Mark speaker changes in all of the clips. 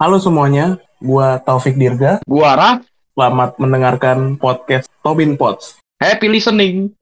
Speaker 1: Halo semuanya, gua Taufik Dirga.
Speaker 2: Gua Raf,
Speaker 1: Selamat mendengarkan podcast Tobin Pots.
Speaker 2: happy listening.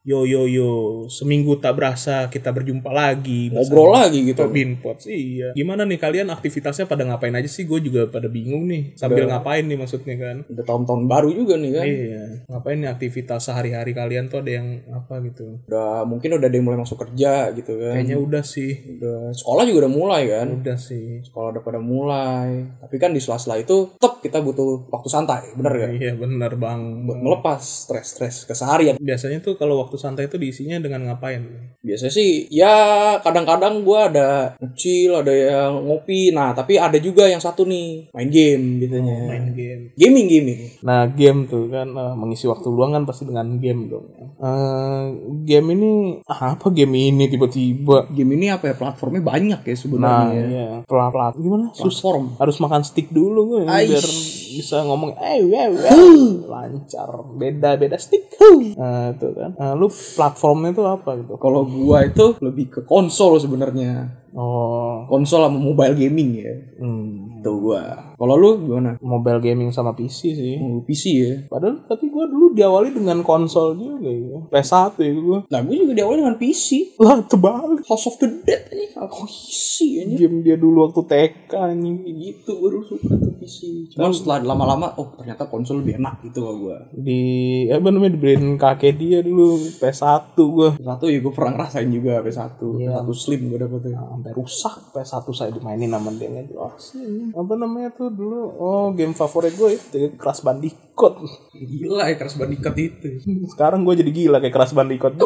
Speaker 1: Yo yo yo, seminggu tak berasa kita berjumpa lagi. bersama
Speaker 3: ngobrol lagi gitu.
Speaker 1: Tobin Pots. Iya. Gimana nih kalian aktivitasnya pada ngapain aja sih? Gue juga pada bingung nih. Sambil
Speaker 3: Udah.
Speaker 1: ngapain nih maksudnya kan?
Speaker 3: Udah tahun-tahun baru juga nih kan.
Speaker 1: Iya. Ngapain nih aktivitas sehari-hari kalian tuh ada yang apa gitu?
Speaker 3: Udah mungkin udah ada yang mulai masuk kerja gitu kan.
Speaker 1: Kayaknya udah sih.
Speaker 3: Udah sekolah juga udah mulai kan.
Speaker 1: Udah sih.
Speaker 3: Sekolah udah pada mulai. Tapi kan di sela-sela itu tetap kita butuh waktu santai, bener gak?
Speaker 1: Iya bener bang.
Speaker 3: Buat melepas stres-stres keseharian.
Speaker 1: Biasanya tuh kalau waktu santai itu diisinya dengan ngapain?
Speaker 3: Biasanya sih ya kadang-kadang gua ada kecil, ada yang ngopi. Nah tapi ada juga yang satu nih main game biasanya.
Speaker 1: Oh, Main game.
Speaker 3: Gaming gaming.
Speaker 1: Nah, game tuh kan eh, mengisi waktu luang kan pasti dengan game dong. Eh, game ini ah, apa game ini tiba-tiba?
Speaker 3: Game ini apa ya platformnya banyak ya
Speaker 1: Nah, iya. Pelan-pelan gimana? Sus
Speaker 3: Platform.
Speaker 1: harus makan stick dulu gue ya,
Speaker 3: Aish.
Speaker 1: biar bisa ngomong eh wow, wow." lancar beda beda stick nah itu kan Nah, lu platformnya tuh apa gitu
Speaker 3: Kalau gua itu lebih ke konsol sebenarnya.
Speaker 1: oh
Speaker 3: konsol sama mobile gaming ya.
Speaker 1: hmm,
Speaker 3: Tuh gua. Kalau lu gimana?
Speaker 1: mobile gaming sama PC sih
Speaker 3: Mau PC ya.
Speaker 1: padahal tapi gua dulu diawali dengan konsol juga ya PS1 itu gua
Speaker 3: Nah, gua juga diawali dengan PC.
Speaker 1: lah terbalik
Speaker 3: House of the Dead ini aku isi ini.
Speaker 1: game dia dulu waktu TK anjing
Speaker 3: Gitu baru suka tuh PC. Cuman setelah lama-lama oh ternyata konsol lebih enak gitu loh gua.
Speaker 1: di eh, apa namanya dibeliin kakek dia dulu PS1 gua
Speaker 3: Satu ya gua pernah ngerasain juga PS1.
Speaker 1: Iya.
Speaker 3: PS1 slim gua dapetnya.
Speaker 1: sampai rusak PS1 saya dimainin sama dia nggak jelas ini. apa namanya tuh dulu oh game favorit gue itu Crash Bandicoot
Speaker 3: Gila ya keras bandikat itu.
Speaker 1: sekarang gue jadi gila kayak Crash Bandicoot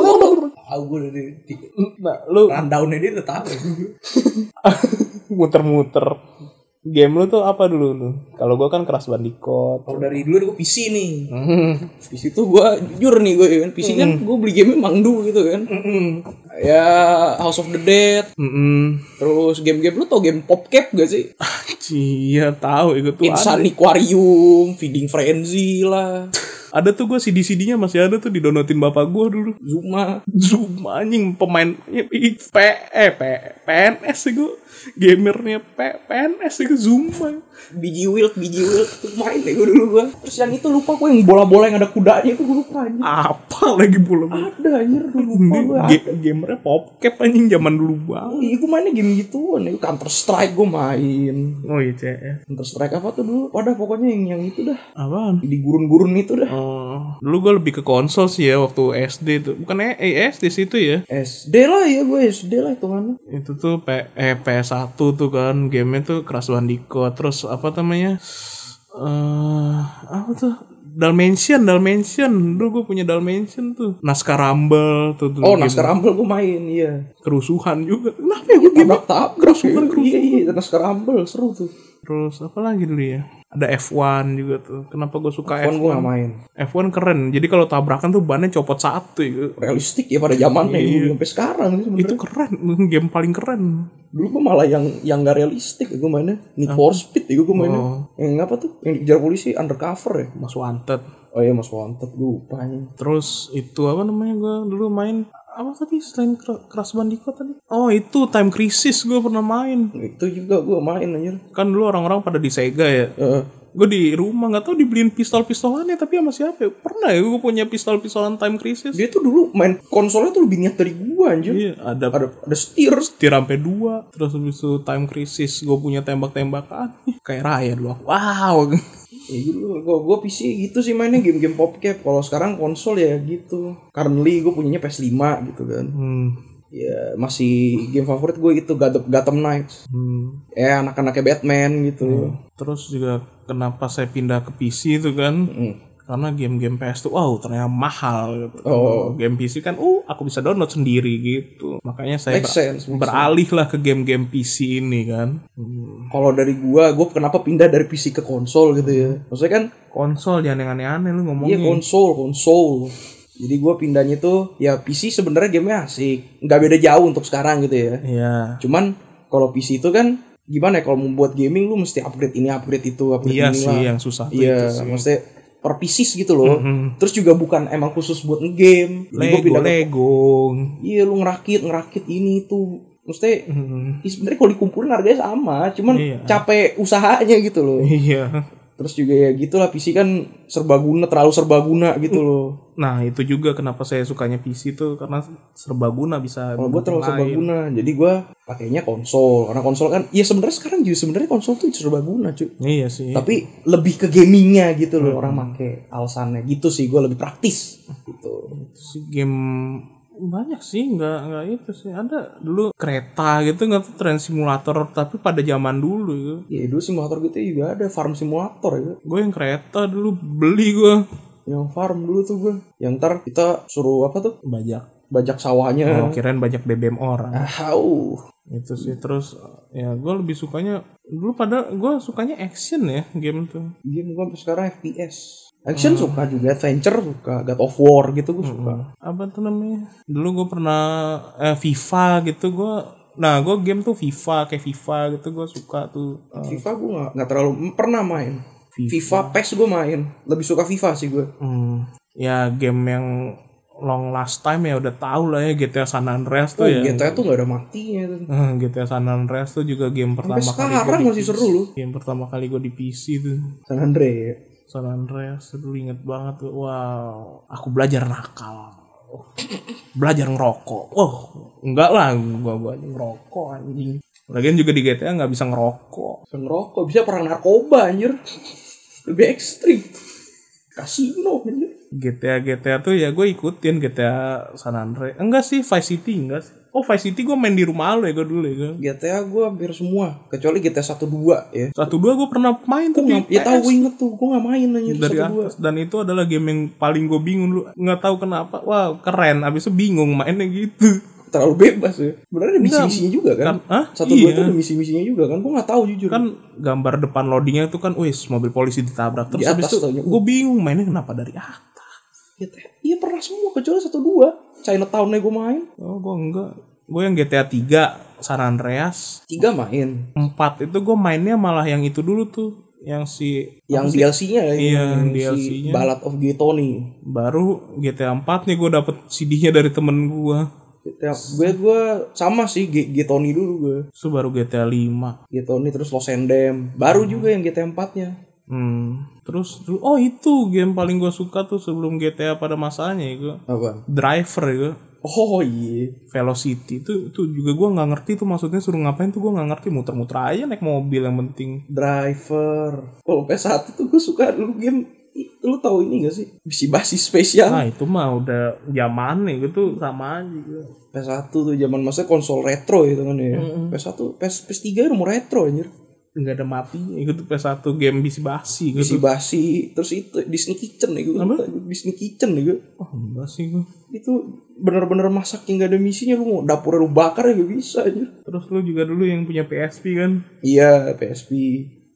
Speaker 3: Tahu gua dari tiga
Speaker 1: nah lu
Speaker 3: rundownnya dia tetap.
Speaker 1: muter-muter game lu tuh apa dulu lu kalau gue kan Crash Bandicoot
Speaker 3: Kalau dari dulu gua PC nih.
Speaker 1: Hmm.
Speaker 3: PC tuh gua jujur nih gua ya kan. PC kan gua beli game emang dulu gitu kan. Ya House of the Dead,
Speaker 1: Mm-mm.
Speaker 3: Terus game-game lu tau game PopCap gak sih?
Speaker 1: Iya tahu itu tuh ada,
Speaker 3: Insaniquarium, Feeding Frenzy lah,
Speaker 1: ada tuh gue CD CD-nya masih ada tuh didownloadin bapak gue dulu
Speaker 3: Zuma.
Speaker 1: Zoom anjing pemain i- i- P eh P PNS sih gue gamernya P PNS sih gue Zoom
Speaker 3: Biji Wild, Biji Wild. Itu main deh gue dulu gua. Terus yang itu lupa gue yang bola-bola yang ada kudanya itu gue lupa anjir.
Speaker 1: apa lagi bola bola
Speaker 3: Ada anjir, gue
Speaker 1: Oh,
Speaker 3: lupa gue.
Speaker 1: ini ga- gamernya popcap anjing zaman dulu banget
Speaker 3: Iya, gue mainnya game gituan. ya. Counter Strike gue main.
Speaker 1: oh iya CS
Speaker 3: Counter Strike apa tuh dulu? Wadah pokoknya yang yang itu dah.
Speaker 1: apaan
Speaker 3: Di gurun-gurun itu dah.
Speaker 1: Oh, dulu gue lebih ke konsol sih ya waktu SD tuh. Bukan eh, eh, SD sih itu ya.
Speaker 3: SD lah ya gue SD lah itu mana?
Speaker 1: Itu tuh P eh, PS1 tuh kan gamenya tuh Crash Bandicoot terus apa namanya? Eh apa tuh? Dalmatian, Dalmatian. Dulu gue punya Dalmatian tuh. Naskah Rumble tuh dulu.
Speaker 3: Oh,
Speaker 1: game.
Speaker 3: Naskah Iya, Rumble gue main, iya.
Speaker 1: Kerusuhan juga. Kenapa ya gue game?
Speaker 3: Tabrak-tabrak.
Speaker 1: Kerusuhan, kerusuhan.
Speaker 3: Iya, iya, Naskah Rumble seru tuh.
Speaker 1: Terus apa lagi dulu ya? Ada F1 juga tuh. Kenapa gue suka
Speaker 3: F1 gue
Speaker 1: F1?
Speaker 3: gak main.
Speaker 1: F1 keren. Jadi kalau tabrakan tuh bannya copot satu. ya.
Speaker 3: Realistik ya pada zamannya dulu, sampai sekarang sih
Speaker 1: iya. Itu
Speaker 3: sebenarnya.
Speaker 1: keren, game paling keren.
Speaker 3: Dulu gue malah yang yang gak realistik ya gue mainnya. Need for Speed ya gue mainnya.
Speaker 1: Oh.
Speaker 3: Yang apa tuh? Yang dikejar polisi undercover ya.
Speaker 1: Mas Wanted.
Speaker 3: Oh iya Mas Wanted lupa nih.
Speaker 1: Terus itu apa namanya gue dulu main apa tadi selain Cra- Crash Bandicoot tadi? Oh itu Time Crisis gue pernah main.
Speaker 3: Itu juga gue main anjir.
Speaker 1: Kan dulu orang-orang pada di Sega ya.
Speaker 3: Eh,
Speaker 1: Gue di rumah nggak tahu dibeliin pistol-pistolannya tapi sama siapa? ya? Pernah ya gue punya pistol-pistolan Time Crisis.
Speaker 3: dia tuh dulu main konsolnya tuh lebih niat dari gue anjir.
Speaker 1: Iya ada
Speaker 3: Ada ada setir.
Speaker 1: setir sampai dua terus habis itu time crisis gue punya tembak-tembakan kayak raya dulu aku. wow
Speaker 3: Ya dulu gue gue PC gitu sih mainnya game-game popcap. Kalau sekarang konsol ya gitu. Currently gue punyanya PS5 gitu kan.
Speaker 1: hmm.
Speaker 3: Ya masih game favorit gue itu Gotham, Gotham Knights.
Speaker 1: hmm.
Speaker 3: ya anak-anaknya Batman gitu.
Speaker 1: terus juga kenapa saya pindah ke PC itu kan
Speaker 3: Mm.
Speaker 1: karena game-game PS tuh wow ternyata mahal gitu.
Speaker 3: Oh.
Speaker 1: game PC kan uh aku bisa download sendiri gitu makanya saya
Speaker 3: Make
Speaker 1: ber-
Speaker 3: sense, make
Speaker 1: beralih lah ke game-game PC ini kan
Speaker 3: Kalau dari gua, gua kenapa pindah dari PC ke konsol gitu ya? Maksudnya kan
Speaker 1: konsol jangan yang aneh-aneh lu
Speaker 3: iya
Speaker 1: ngomongnya
Speaker 3: konsol, konsol. Jadi gua pindahnya tuh ya PC sebenarnya gamenya asik, nggak beda jauh untuk sekarang gitu ya.
Speaker 1: Iya.
Speaker 3: Cuman kalau PC itu kan gimana ya kalau membuat gaming lu mesti upgrade ini upgrade itu upgrade
Speaker 1: Iya
Speaker 3: ini
Speaker 1: sih yang susah tuh itu
Speaker 3: iya
Speaker 1: gitu sih.
Speaker 3: maksudnya per pieces gitu loh
Speaker 1: Mhm.
Speaker 3: terus juga bukan emang khusus buat game
Speaker 1: Lego, Lego.
Speaker 3: iya lu ngerakit ngerakit ini itu maksudnya
Speaker 1: Mhm.
Speaker 3: ya sebenarnya kalau dikumpulin harganya sama cuman
Speaker 1: Iya.
Speaker 3: capek usahanya gitu loh
Speaker 1: Iya.
Speaker 3: terus juga ya gitulah PC kan serbaguna terlalu serbaguna gitu loh
Speaker 1: Nah itu juga kenapa saya sukanya PC tuh karena serbaguna bisa.
Speaker 3: kalau gue
Speaker 1: buat
Speaker 3: terlalu
Speaker 1: yang lain.
Speaker 3: serbaguna jadi gue pakainya konsol karena konsol kan iya sebenarnya sekarang juga sebenarnya konsol tuh serbaguna cuy
Speaker 1: Iya Mhm. sih.
Speaker 3: tapi lebih ke gamingnya gitu loh orang make alasannya gitu sih gue lebih praktis gitu
Speaker 1: Itu sih game banyak sih nggak nggak itu sih ada dulu kereta gitu nggak tuh tren simulator tapi pada zaman dulu gitu.
Speaker 3: ya dulu simulator gitu juga ada farm simulator ya
Speaker 1: gue yang kereta dulu beli gue
Speaker 3: yang farm dulu tuh gue yang ntar kita suruh apa tuh
Speaker 1: bajak
Speaker 3: bajak sawahnya
Speaker 1: oh, kirain bajak BBM orang
Speaker 3: Ah, hau.
Speaker 1: itu sih terus ya gue lebih sukanya dulu pada gue sukanya action ya game tuh
Speaker 3: game gue Iya, sampai sekarang FPS action
Speaker 1: Hmm.
Speaker 3: suka juga adventure suka God of War gitu gue suka
Speaker 1: apa tuh namanya dulu gue pernah eh, FIFA gitu gue nah gue game tuh FIFA kayak FIFA gitu gue suka tuh Eh,
Speaker 3: Nah, FIFA gue nggak nggak terlalu mm, pernah main
Speaker 1: FIFA.
Speaker 3: FIFA PES gue main lebih suka FIFA sih gue
Speaker 1: hmm, ya game yang long last time ya udah tau lah ya GTA San Andreas tuh
Speaker 3: oh,
Speaker 1: ya
Speaker 3: GTA tuh nggak ada matinya tuh.
Speaker 1: Eh, GTA San Andreas tuh juga game pertama kali
Speaker 3: sampai
Speaker 1: gue
Speaker 3: sekarang
Speaker 1: di
Speaker 3: masih seru loh
Speaker 1: game pertama kali gue di PC tuh
Speaker 3: San Andreas
Speaker 1: San Andreas dulu inget banget tuh. Wow, aku belajar nakal. Oh, Belajar ngerokok. Wah, enggak lah gua gua aja ngerokok anjing. Lagian juga di GTA nggak bisa ngerokok.
Speaker 3: bisa ngerokok bisa perang narkoba anjir lebih ekstrim kasino anjir
Speaker 1: GTA GTA tuh ya gue ikutin GTA San Andreas. Enggak sih Vice City enggak sih. Oh Vice City gue main di rumah lo ya gue dulu ya gue.
Speaker 3: GTA gue hampir semua kecuali GTA 12 ya
Speaker 1: Satu dua gue pernah main
Speaker 3: Gua
Speaker 1: tuh
Speaker 3: nggak- ya tahu gue inget tuh gue nggak main anjir
Speaker 1: dari
Speaker 3: 12
Speaker 1: atas dan itu adalah game yang paling gue bingung lu nggak tahu kenapa wah keren abis itu bingung mainnya gitu
Speaker 3: terlalu bebas ya benar ada misi-misinya juga kan
Speaker 1: kan ah
Speaker 3: satu dua itu ada misi-misinya juga kan gue nggak tahu jujur
Speaker 1: kan gambar depan loadingnya itu kan wis mobil polisi ditabrak terus
Speaker 3: Di
Speaker 1: habis itu
Speaker 3: atas taunya. uh.
Speaker 1: gue bingung mainnya kenapa dari atas
Speaker 3: GTA iya pernah semua kecuali satu dua Chinatown-nya gue main
Speaker 1: oh gue enggak gue yang GTA 3 San Andreas
Speaker 3: tiga main
Speaker 1: 4 itu gue mainnya malah yang itu dulu tuh yang si
Speaker 3: yang DLC-nya ya,
Speaker 1: Iya,
Speaker 3: yang
Speaker 1: DLC-nya.
Speaker 3: si Ballad of Gay Tony
Speaker 1: baru GTA 4 nih gue dapet CD-nya dari temen gue
Speaker 3: GTA Ya, gue gue sama sih Gay, Gay Tony dulu gue
Speaker 1: itu baru GTA 5
Speaker 3: Gay Tony terus Los Endem baru juga yang GTA 4 nya
Speaker 1: hmm. terus dulu oh itu game paling gue suka tuh sebelum GTA pada masanya ya gue
Speaker 3: apa
Speaker 1: driver ya gue
Speaker 3: oh iya
Speaker 1: velocity itu itu juga gua nggak ngerti tuh maksudnya suruh ngapain tuh gua nggak ngerti muter-muter aja naik mobil yang penting
Speaker 3: driver kalau PS1 tuh gue suka dulu game itu lu tahu ini gak sih misi basi spesial
Speaker 1: nah itu mah udah zaman nih gitu sama aja gitu.
Speaker 3: PS1 tuh zaman masa konsol retro gitu kan ya
Speaker 1: Mm-mm. Gitu.
Speaker 3: PS1 PS PS3 nomor retro anjir
Speaker 1: nggak ada matinya gitu PS1 game bisi basi
Speaker 3: Bisi
Speaker 1: gitu
Speaker 3: basi terus itu Disney Kitchen ya gue
Speaker 1: Apa?
Speaker 3: suka. Disney Kitchen ya gue
Speaker 1: oh, enggak sih gua.
Speaker 3: itu bener-bener masak yang gak ada misinya lu mau dapurnya lu bakar ya gak bisa aja
Speaker 1: terus lu juga dulu yang punya PSP kan
Speaker 3: iya PSP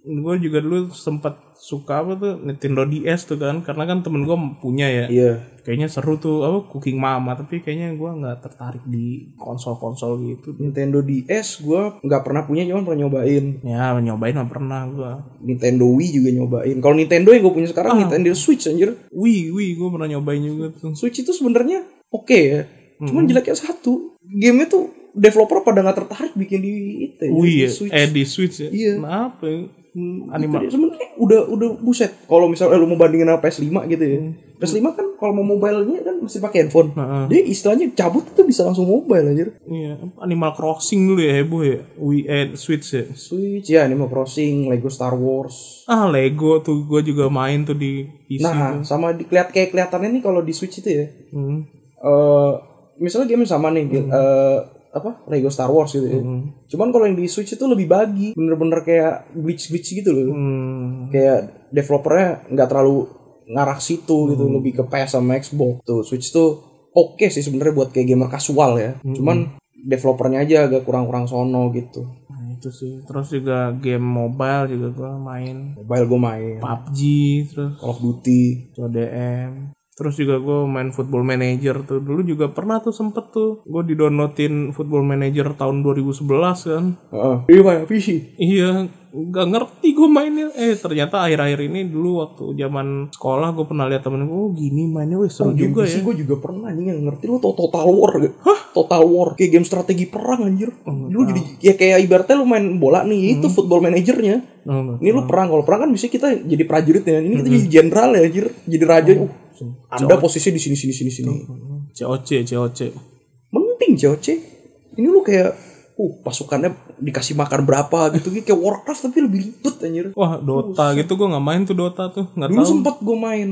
Speaker 1: gua juga dulu sempat suka apa tuh Nintendo DS tuh kan karena kan temen gua punya ya
Speaker 3: iya
Speaker 1: kayaknya seru tuh apa Cooking Mama tapi kayaknya gua nggak tertarik di konsol-konsol gitu
Speaker 3: Nintendo DS gue nggak pernah punya cuman pernah nyobain
Speaker 1: ya nyobain mah pernah gua
Speaker 3: Nintendo Wii juga nyobain kalau Nintendo yang gue punya sekarang
Speaker 1: Ah.
Speaker 3: Nintendo Switch anjir
Speaker 1: Wih, wih, gue pernah nyobain juga tuh.
Speaker 3: Switch itu sebenarnya oke ya cuman jeleknya satu gamenya tuh developer pada nggak tertarik bikin di itu ya, di
Speaker 1: Wih, ya?
Speaker 3: Switch
Speaker 1: eh di Switch ya?
Speaker 3: Iya.
Speaker 1: Nah, apa ya? Hmm,
Speaker 3: Itu
Speaker 1: Anima
Speaker 3: dia, sebenarnya udah udah buset kalau misalnya lu mau bandingin sama PS5 gitu ya PS5 kan kalau mau mobilenya kan mesti pakai handphone
Speaker 1: Hmm. Heeh.
Speaker 3: dia istilahnya cabut itu bisa langsung mobile anjir
Speaker 1: iya, Animal Crossing dulu ya heboh ya. Wii eh Switch ya.
Speaker 3: Switch ya Animal Crossing Lego Star Wars
Speaker 1: Ah, Lego tuh gue juga main tuh di PC.
Speaker 3: nah sama di keliat kayak kelihatannya nih kalau di Switch itu ya
Speaker 1: Hmm.
Speaker 3: eh misalnya game sama nih eh, apa Lego Star Wars gitu ya
Speaker 1: Hmm.
Speaker 3: cuman kalau yang di Switch itu lebih bagi bener-bener kayak glitch glitch gitu loh
Speaker 1: Hmm.
Speaker 3: kayak developernya nggak terlalu ngarah situ
Speaker 1: Hmm.
Speaker 3: gitu lebih ke PS sama Xbox tuh Switch tuh oke sih sebenarnya buat kayak gamer kasual ya
Speaker 1: Hmm.
Speaker 3: cuman developernya aja agak kurang-kurang sono gitu
Speaker 1: Nah, itu sih. Terus juga game mobile juga gue main.
Speaker 3: mobile gue main
Speaker 1: PUBG, terus
Speaker 3: Call of Duty
Speaker 1: CODM. Terus juga gue main Football Manager tuh. Dulu juga pernah tuh sempet tuh. Gue didownloadin Football Manager tahun 2011 kan.
Speaker 3: Heeh. Iya, kayak PC.
Speaker 1: Iya, nggak ngerti gue mainnya. Eh ternyata akhir-akhir ini dulu waktu zaman sekolah gue pernah lihat temen gue, oh gini mainnya wih seru
Speaker 3: Game
Speaker 1: juga
Speaker 3: PC
Speaker 1: ya.
Speaker 3: gue juga pernah anjing yang ngerti lu tau Total War gak? Hah? Total War kayak game strategi perang anjir.
Speaker 1: Oh,
Speaker 3: lu jadi ya kayak ibaratnya lu main bola
Speaker 1: Hmm.
Speaker 3: nih itu football manajernya.
Speaker 1: Oh, nggak.
Speaker 3: Ini lu perang kalau perang kan bisa kita jadi prajuritnya. Ini
Speaker 1: Hmm.
Speaker 3: kita jadi jenderal ya anjir. Jadi raja. Uh, anda posisi di sini sini sini sini.
Speaker 1: Hmm. COC, COC.
Speaker 3: Mending COC. Ini lu kayak uh pasukannya dikasih makan berapa gitu gitu kayak Warcraft tapi lebih ribet anjir.
Speaker 1: Wah Dota gitu gue nggak main tuh Dota tuh nggak
Speaker 3: Dulu
Speaker 1: tahu.
Speaker 3: sempet gue main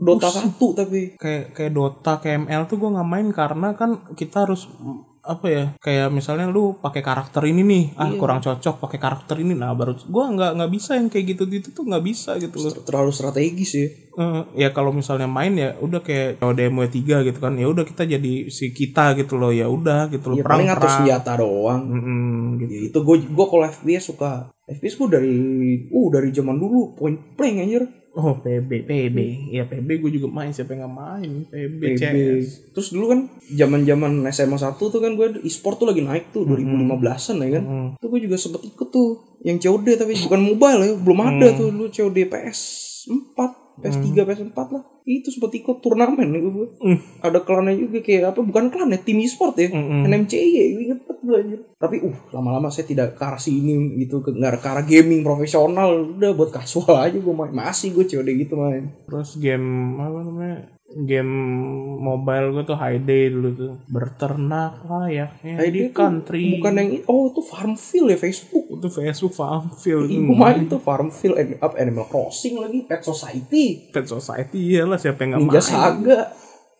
Speaker 3: Dota 1 tapi
Speaker 1: kayak kayak Dota kayak ML tuh gue nggak main karena kan kita harus mm, apa ya kayak misalnya lu pakai karakter ini nih ah kurang cocok pakai karakter ini nah baru gue nggak nggak bisa yang kayak gitu gitu tuh nggak bisa gitu loh
Speaker 3: ter- terlalu strategis ya.
Speaker 1: Eh, ya kalau misalnya main ya udah kayak kalau demo 3 gitu kan ya udah kita jadi si kita gitu loh ya udah gitu loh
Speaker 3: Ya
Speaker 1: perang
Speaker 3: paling ngatur
Speaker 1: perang
Speaker 3: senjata doang.
Speaker 1: Mm-mm, gitu.
Speaker 3: Ya itu gue gue kalau FPS suka FPS gue dari uh dari zaman dulu point blank anjir
Speaker 1: oh PB PB ya PB gue juga main siapa yang nggak main PB, CS.
Speaker 3: terus dulu kan zaman zaman SMA 1 tuh kan gue e-sport tuh lagi naik tuh 2015an ya kan
Speaker 1: Hmm.
Speaker 3: tuh gue juga sempet ikut tuh yang COD tapi bukan mobile ya belum ada tuh dulu COD PS 4 PS3 PS 4 lah itu sempet ikut turnamen ya gue
Speaker 1: Hmm.
Speaker 3: ada klannya juga kayak apa bukan klan ya tim e-sport ya
Speaker 1: Mm-mm.
Speaker 3: NMCI ya gue inget banget gue anjir tapi uh lama-lama saya tidak ke arah sini gitu ke nggak ke arah gaming profesional udah buat casual aja gue main masih gue COD gitu main
Speaker 1: Terus game apa namanya? Game mobile gue tuh High Day dulu tuh. Berternak layaknya
Speaker 3: Nah,
Speaker 1: di
Speaker 3: itu
Speaker 1: country.
Speaker 3: bukan yang ini. oh itu Farmville ya Facebook
Speaker 1: itu Facebook Farmville
Speaker 3: Ih,
Speaker 1: itu.
Speaker 3: gue main tuh Farmville and, up Animal Crossing lagi Pet Society
Speaker 1: Pet Society iyalah siapa yang nggak
Speaker 3: Ninja
Speaker 1: main.
Speaker 3: Saga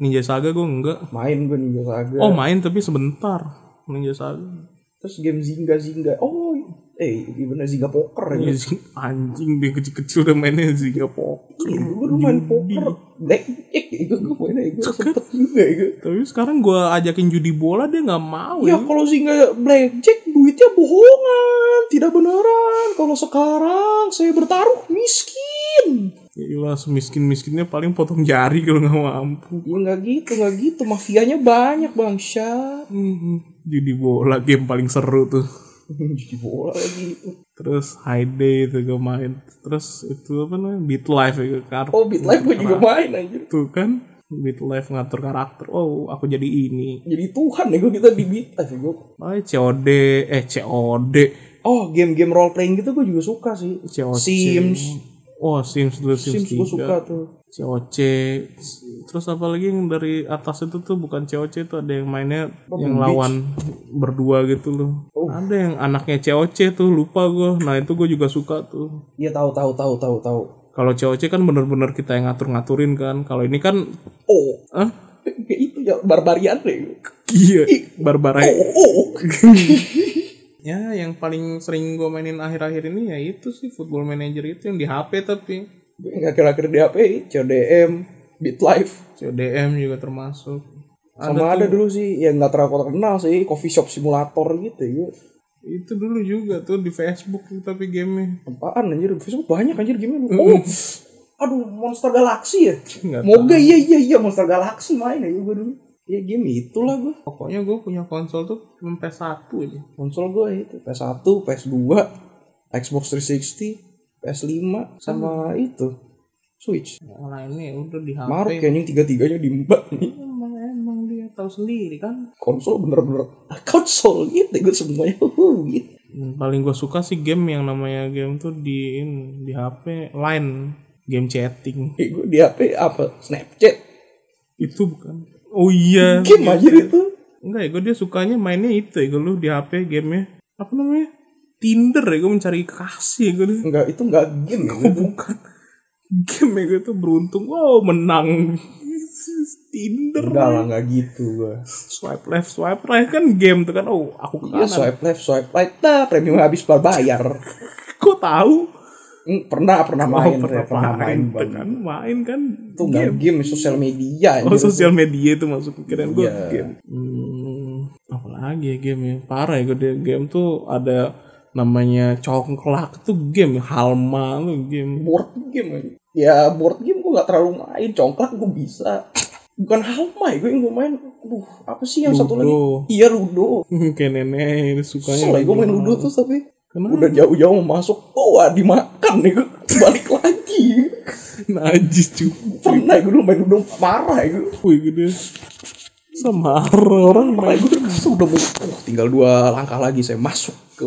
Speaker 1: Ninja Saga gue enggak.
Speaker 3: main gue Ninja Saga
Speaker 1: Oh main tapi sebentar. Ninja Saga.
Speaker 3: terus game Zynga Zynga oh eh iya bener Zynga Poker
Speaker 1: Iya
Speaker 3: ya
Speaker 1: sih, Anjing dia kecil-kecil udah mainnya ya, Zynga Poker.
Speaker 3: Iya, gue dulu main
Speaker 1: Judi.
Speaker 3: poker blackjack gue gue mainnya gue sempet juga ya, gue
Speaker 1: Tapi sekarang gue ajakin judi bola dia nggak mau
Speaker 3: Ya
Speaker 1: ya.
Speaker 3: kalau Zynga blackjack duitnya bohongan, tidak beneran. Kalau sekarang saya bertaruh miskin.
Speaker 1: Gila Ya semiskin-miskinnya paling potong jari kalau nggak mampu.
Speaker 3: Ya nggak gitu, nggak gitu. Mafianya banyak bangsa.
Speaker 1: Mhm. Judi bola game paling seru tuh.
Speaker 3: Jadi bola lagi.
Speaker 1: Terus High Day itu gue main. Terus itu apa namanya? Beat Life ya karakter.
Speaker 3: Oh, BitLife gue juga main anjir.
Speaker 1: Tuh kan Beat Life ngatur karakter. Oh, aku jadi ini.
Speaker 3: Jadi Tuhan ya gue kita di BitLife ya gue.
Speaker 1: Oh, COD eh COD
Speaker 3: Oh, game-game role playing gitu gue juga suka sih.
Speaker 1: COC.
Speaker 3: Sims.
Speaker 1: Oh, Sims dulu Sims,
Speaker 3: Sims gue
Speaker 1: 3.
Speaker 3: suka tuh.
Speaker 1: COC. Terus apa lagi yang dari atas itu tuh bukan COC tuh ada yang mainnya yang
Speaker 3: Beach. Oh.
Speaker 1: lawan berdua gitu loh. Ada yang anaknya COC tuh lupa gue. Nah, itu gue juga suka tuh.
Speaker 3: Iya tahu tahu tahu tahu tahu.
Speaker 1: Kalau COC kan bener-bener kita yang ngatur-ngaturin kan. Kalau ini kan
Speaker 3: Oh,
Speaker 1: ah
Speaker 3: ya itu ya barbarian deh.
Speaker 1: iya barbarai.
Speaker 3: Oh, oh, oh.
Speaker 1: Ya, yang paling sering gue mainin akhir-akhir ini ya itu sih Football Manager itu yang di HP tapi
Speaker 3: Gue nggak kira-kira di HP, CDM, BitLife.
Speaker 1: CDM juga termasuk.
Speaker 3: sama ada dulu sih yang nggak terlalu terkenal sih coffee shop simulator gitu ya
Speaker 1: Itu dulu juga tuh di Facebook tuh tapi gamenya
Speaker 3: apaan anjir Facebook banyak anjir gimana oh aduh Monster Galaxy ya
Speaker 1: Nggak
Speaker 3: moga iya iya iya Monster Galaxy main ya gue dulu ya game itulah gue
Speaker 1: Pokoknya gue punya konsol tuh cuma PS1 aja.
Speaker 3: konsol gue itu PS1 PS2 Xbox 360 PS5 sama itu Switch
Speaker 1: Yang lainnya ya udah di HP.
Speaker 3: Maruk kayaknya yang tiga-tiganya diembat nih
Speaker 1: Emang, emang dia tahu sendiri kan.
Speaker 3: konsol bener-bener konsol gitu gue semuanya gitu
Speaker 1: Yang paling gue suka sih game yang namanya game tuh di ini, di HP line game chatting
Speaker 3: Ya, gue di HP apa Snapchat
Speaker 1: itu bukan oh iya
Speaker 3: game anjir itu
Speaker 1: enggak ya gue dia sukanya mainnya itu ya gue lu di HP gamenya apa namanya Tinder ya gue mencari kasih gue deh
Speaker 3: Enggak, itu enggak game ya.
Speaker 1: oh, bukan game ya gue tuh beruntung wow menang Tinder
Speaker 3: Enggak lah, enggak gitu gua.
Speaker 1: swipe left swipe right kan game tuh kan oh aku ke
Speaker 3: Iya,
Speaker 1: kanan
Speaker 3: swipe left, swipe right. Nah, premium habis berbayar.
Speaker 1: kok tahu
Speaker 3: Hmm, pernah pernah
Speaker 1: oh,
Speaker 3: main, pernah, pernah main.
Speaker 1: tuh
Speaker 3: Bang.
Speaker 1: kan main kan
Speaker 3: Itu enggak game, sosial media
Speaker 1: Oh
Speaker 3: anjir.
Speaker 1: sosial media itu masuk pikiran gue
Speaker 3: Iya.
Speaker 1: game. Hmm, apalagi ya game ya parah ya gede game tuh ada namanya congklak tuh game halma tuh game
Speaker 3: board game. anjir. Ya, board game gua gue nggak terlalu main congklak gue bisa bukan halmai gue yang gue main aduh apa sih yang satu lagi
Speaker 1: Ludo.
Speaker 3: iya ludo
Speaker 1: Kayak nenek ini sukanya.
Speaker 3: Soalnya gue main ludo tuh tapi
Speaker 1: Kenapa?
Speaker 3: udah jauh-jauh mau masuk oh wah, dimakan nih gue balik lagi
Speaker 1: najis cuy.
Speaker 3: pernah gue dulu main ludo marah ya gue
Speaker 1: Wih gede. Sama orang
Speaker 3: Pernah gue udah udah mau oh, tinggal dua langkah lagi saya masuk ke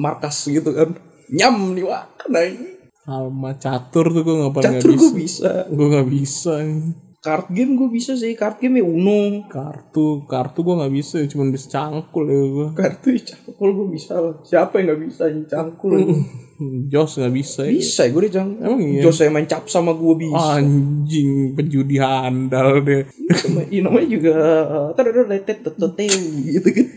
Speaker 3: markas gitu kan nyam nih wah kena ini
Speaker 1: Alma catur tuh gue nggak pernah nggak
Speaker 3: catur gue
Speaker 1: bisa.
Speaker 3: bisa
Speaker 1: Gue nggak bisa. ini.
Speaker 3: card game gue bisa sih card game ya uno
Speaker 1: Kartu, kartu gue nggak bisa. Cuman bisa cangkul ya gue.
Speaker 3: kartu cangkul gue bisa lah. siapa yang nggak bisa yang cangkul
Speaker 1: Jos nggak bisa. ya.
Speaker 3: bisa gue dia cangkul
Speaker 1: Emang iya?
Speaker 3: Jos saya main cap sama gue bisa
Speaker 1: Anjing penjudi handal deh.
Speaker 3: Sama- iya, namanya juga eh, terdetetet, tetetet, gitu kan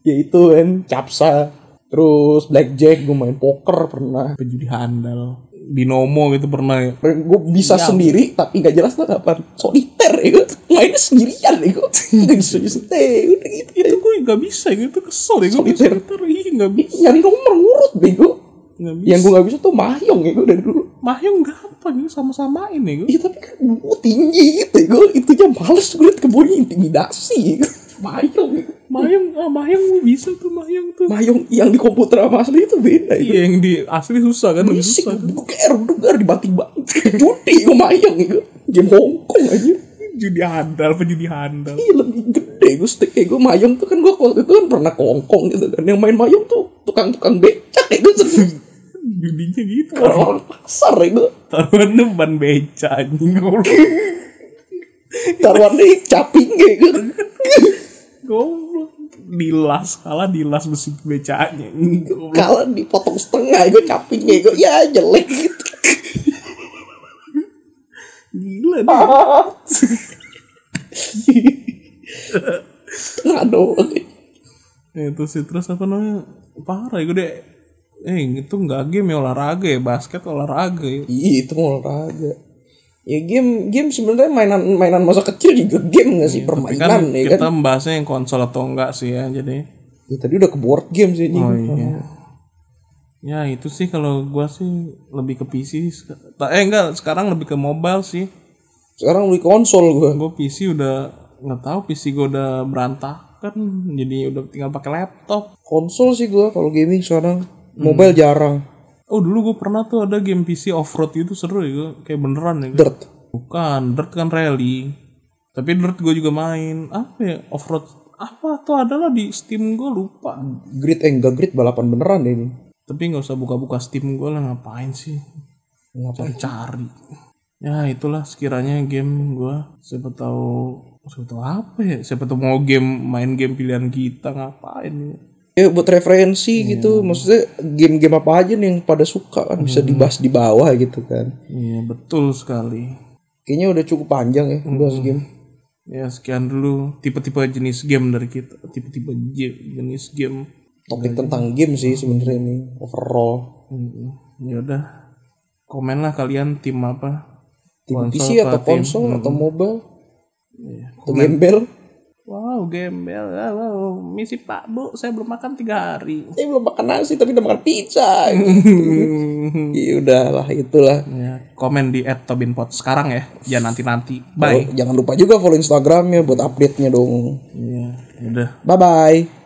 Speaker 3: ya itu kan capsa terus blackjack gue main poker pernah
Speaker 1: Penjudi handal. Binomo gitu pernah ya.
Speaker 3: gue bisa sendiri tapi nggak jelas lah kapan soliter ya mainnya sendirian ya gue nggak bisa bisa udah gitu
Speaker 1: Itu gue nggak bisa gitu kesel ya gue main
Speaker 3: Solitaire.
Speaker 1: solitaire. Ih nggak bisa.
Speaker 3: nyari nomor urut bego
Speaker 1: Nggak bisa.
Speaker 3: yang gue nggak bisa tuh mahyong ya gue dari dulu
Speaker 1: Mahyong gampang gitu sama-samain ya gue.
Speaker 3: Iya tapi kan gue tinggi gitu ya gue itunya males gue liat kebunnya intimidasi ya Mayong
Speaker 1: Mahyong, ah, Mahyong gue bisa tuh Mahyong tuh.
Speaker 3: Mayong yang di komputer sama asli itu beda itu
Speaker 1: Iya yang di asli susah kan lebih
Speaker 3: Berisik
Speaker 1: susah.
Speaker 3: gue ger dugar dibanting banget Judi gue Mayong gitu Game Hongkong aja
Speaker 1: Judi handal, penjudi handal.
Speaker 3: Iya lebih gede gue stick kayak gue Mayong tuh kan gue waktu itu kan pernah ke Hongkong gitu kan Yang main Mayong tuh tukang-tukang becak ya gue sering
Speaker 1: Judinya gitu.
Speaker 3: orang pasar ya gue
Speaker 1: Taruhan depan beca anjing
Speaker 3: Taruhannya caping ya gue
Speaker 1: Goblok. Dilas kalah dilas besi becanya. Goblok.
Speaker 3: Kalau dipotong setengah gue capingnya gue ya jelek gitu
Speaker 1: Gila dia.
Speaker 3: Tengah doang
Speaker 1: Eh, itu sih terus apa namanya? Parah gue deh. Eh itu nggak game ya olahraga ya basket olahraga ya.
Speaker 3: Iya itu mah olahraga. Ya game game sebenarnya mainan mainan masa kecil juga game gak sih
Speaker 1: Tapi
Speaker 3: permainan
Speaker 1: kan
Speaker 3: ya
Speaker 1: kita
Speaker 3: kan.
Speaker 1: membahasnya yang konsol atau enggak sih ya jadi.
Speaker 3: Ya, tadi udah ke board game sih ini.
Speaker 1: Oh iya. Ya itu sih kalau gua sih lebih ke PC. sek- ta- Eh enggak, sekarang lebih ke mobile sih.
Speaker 3: Sekarang beli konsol gua.
Speaker 1: Gua PC udah nggak tahu PC gua udah berantakan. Jadi udah tinggal pakai laptop.
Speaker 3: Konsol sih gua kalau gaming sekarang mobile jarang.
Speaker 1: Oh dulu gua pernah tuh ada game PC offroad gitu seru ya, gua. kayak beneran ya. gua.
Speaker 3: Dirt.
Speaker 1: Bukan, dirt kan rally. Tapi dirt gua juga main. Apa ya offroad? Apa tuh adalah di Steam gua lupa.
Speaker 3: Grid eh enggak grid balapan beneran deh ini.
Speaker 1: Tapi nggak usah buka-buka Steam gua lah ngapain sih?
Speaker 3: Ngapa?
Speaker 1: cari ya itulah sekiranya game gua siapa tahu siapa tahu apa ya siapa tahu mau game main game pilihan kita ngapain ya
Speaker 3: Ya buat referensi
Speaker 1: Iya.
Speaker 3: gitu. Maksudnya game-game apa aja nih yang pada suka kan
Speaker 1: Hmm.
Speaker 3: bisa dibahas di bawah gitu kan.
Speaker 1: iya betul sekali
Speaker 3: Kayaknya udah cukup panjang ya
Speaker 1: Hmm.
Speaker 3: bahas game.
Speaker 1: ya sekian dulu tipe-tipe jenis game dari kita tipe-tipe je- jenis game Iya,
Speaker 3: Topik tentang game sih sebenarnya ini overall.
Speaker 1: Hmm, ya udah komen lah kalian tim apa
Speaker 3: Tim
Speaker 1: Konsol
Speaker 3: PC
Speaker 1: apa tim?
Speaker 3: atau
Speaker 1: Hmm.
Speaker 3: konsol atau mobile
Speaker 1: Iya.
Speaker 3: atau gembel.
Speaker 1: wow gembel Ah, wow. misi pak bu saya belum makan tiga hari
Speaker 3: Saya belum makan nasi tapi udah makan pizza. Iya udahlah itulah.
Speaker 1: Ya, komen di @tobinpot sekarang ya. Jangan nanti-nanti.
Speaker 3: Oh,
Speaker 1: Bye.
Speaker 3: Oh, jangan lupa juga follow Instagramnya buat update-nya ya dong.
Speaker 1: Iya, udah.
Speaker 3: Bye bye.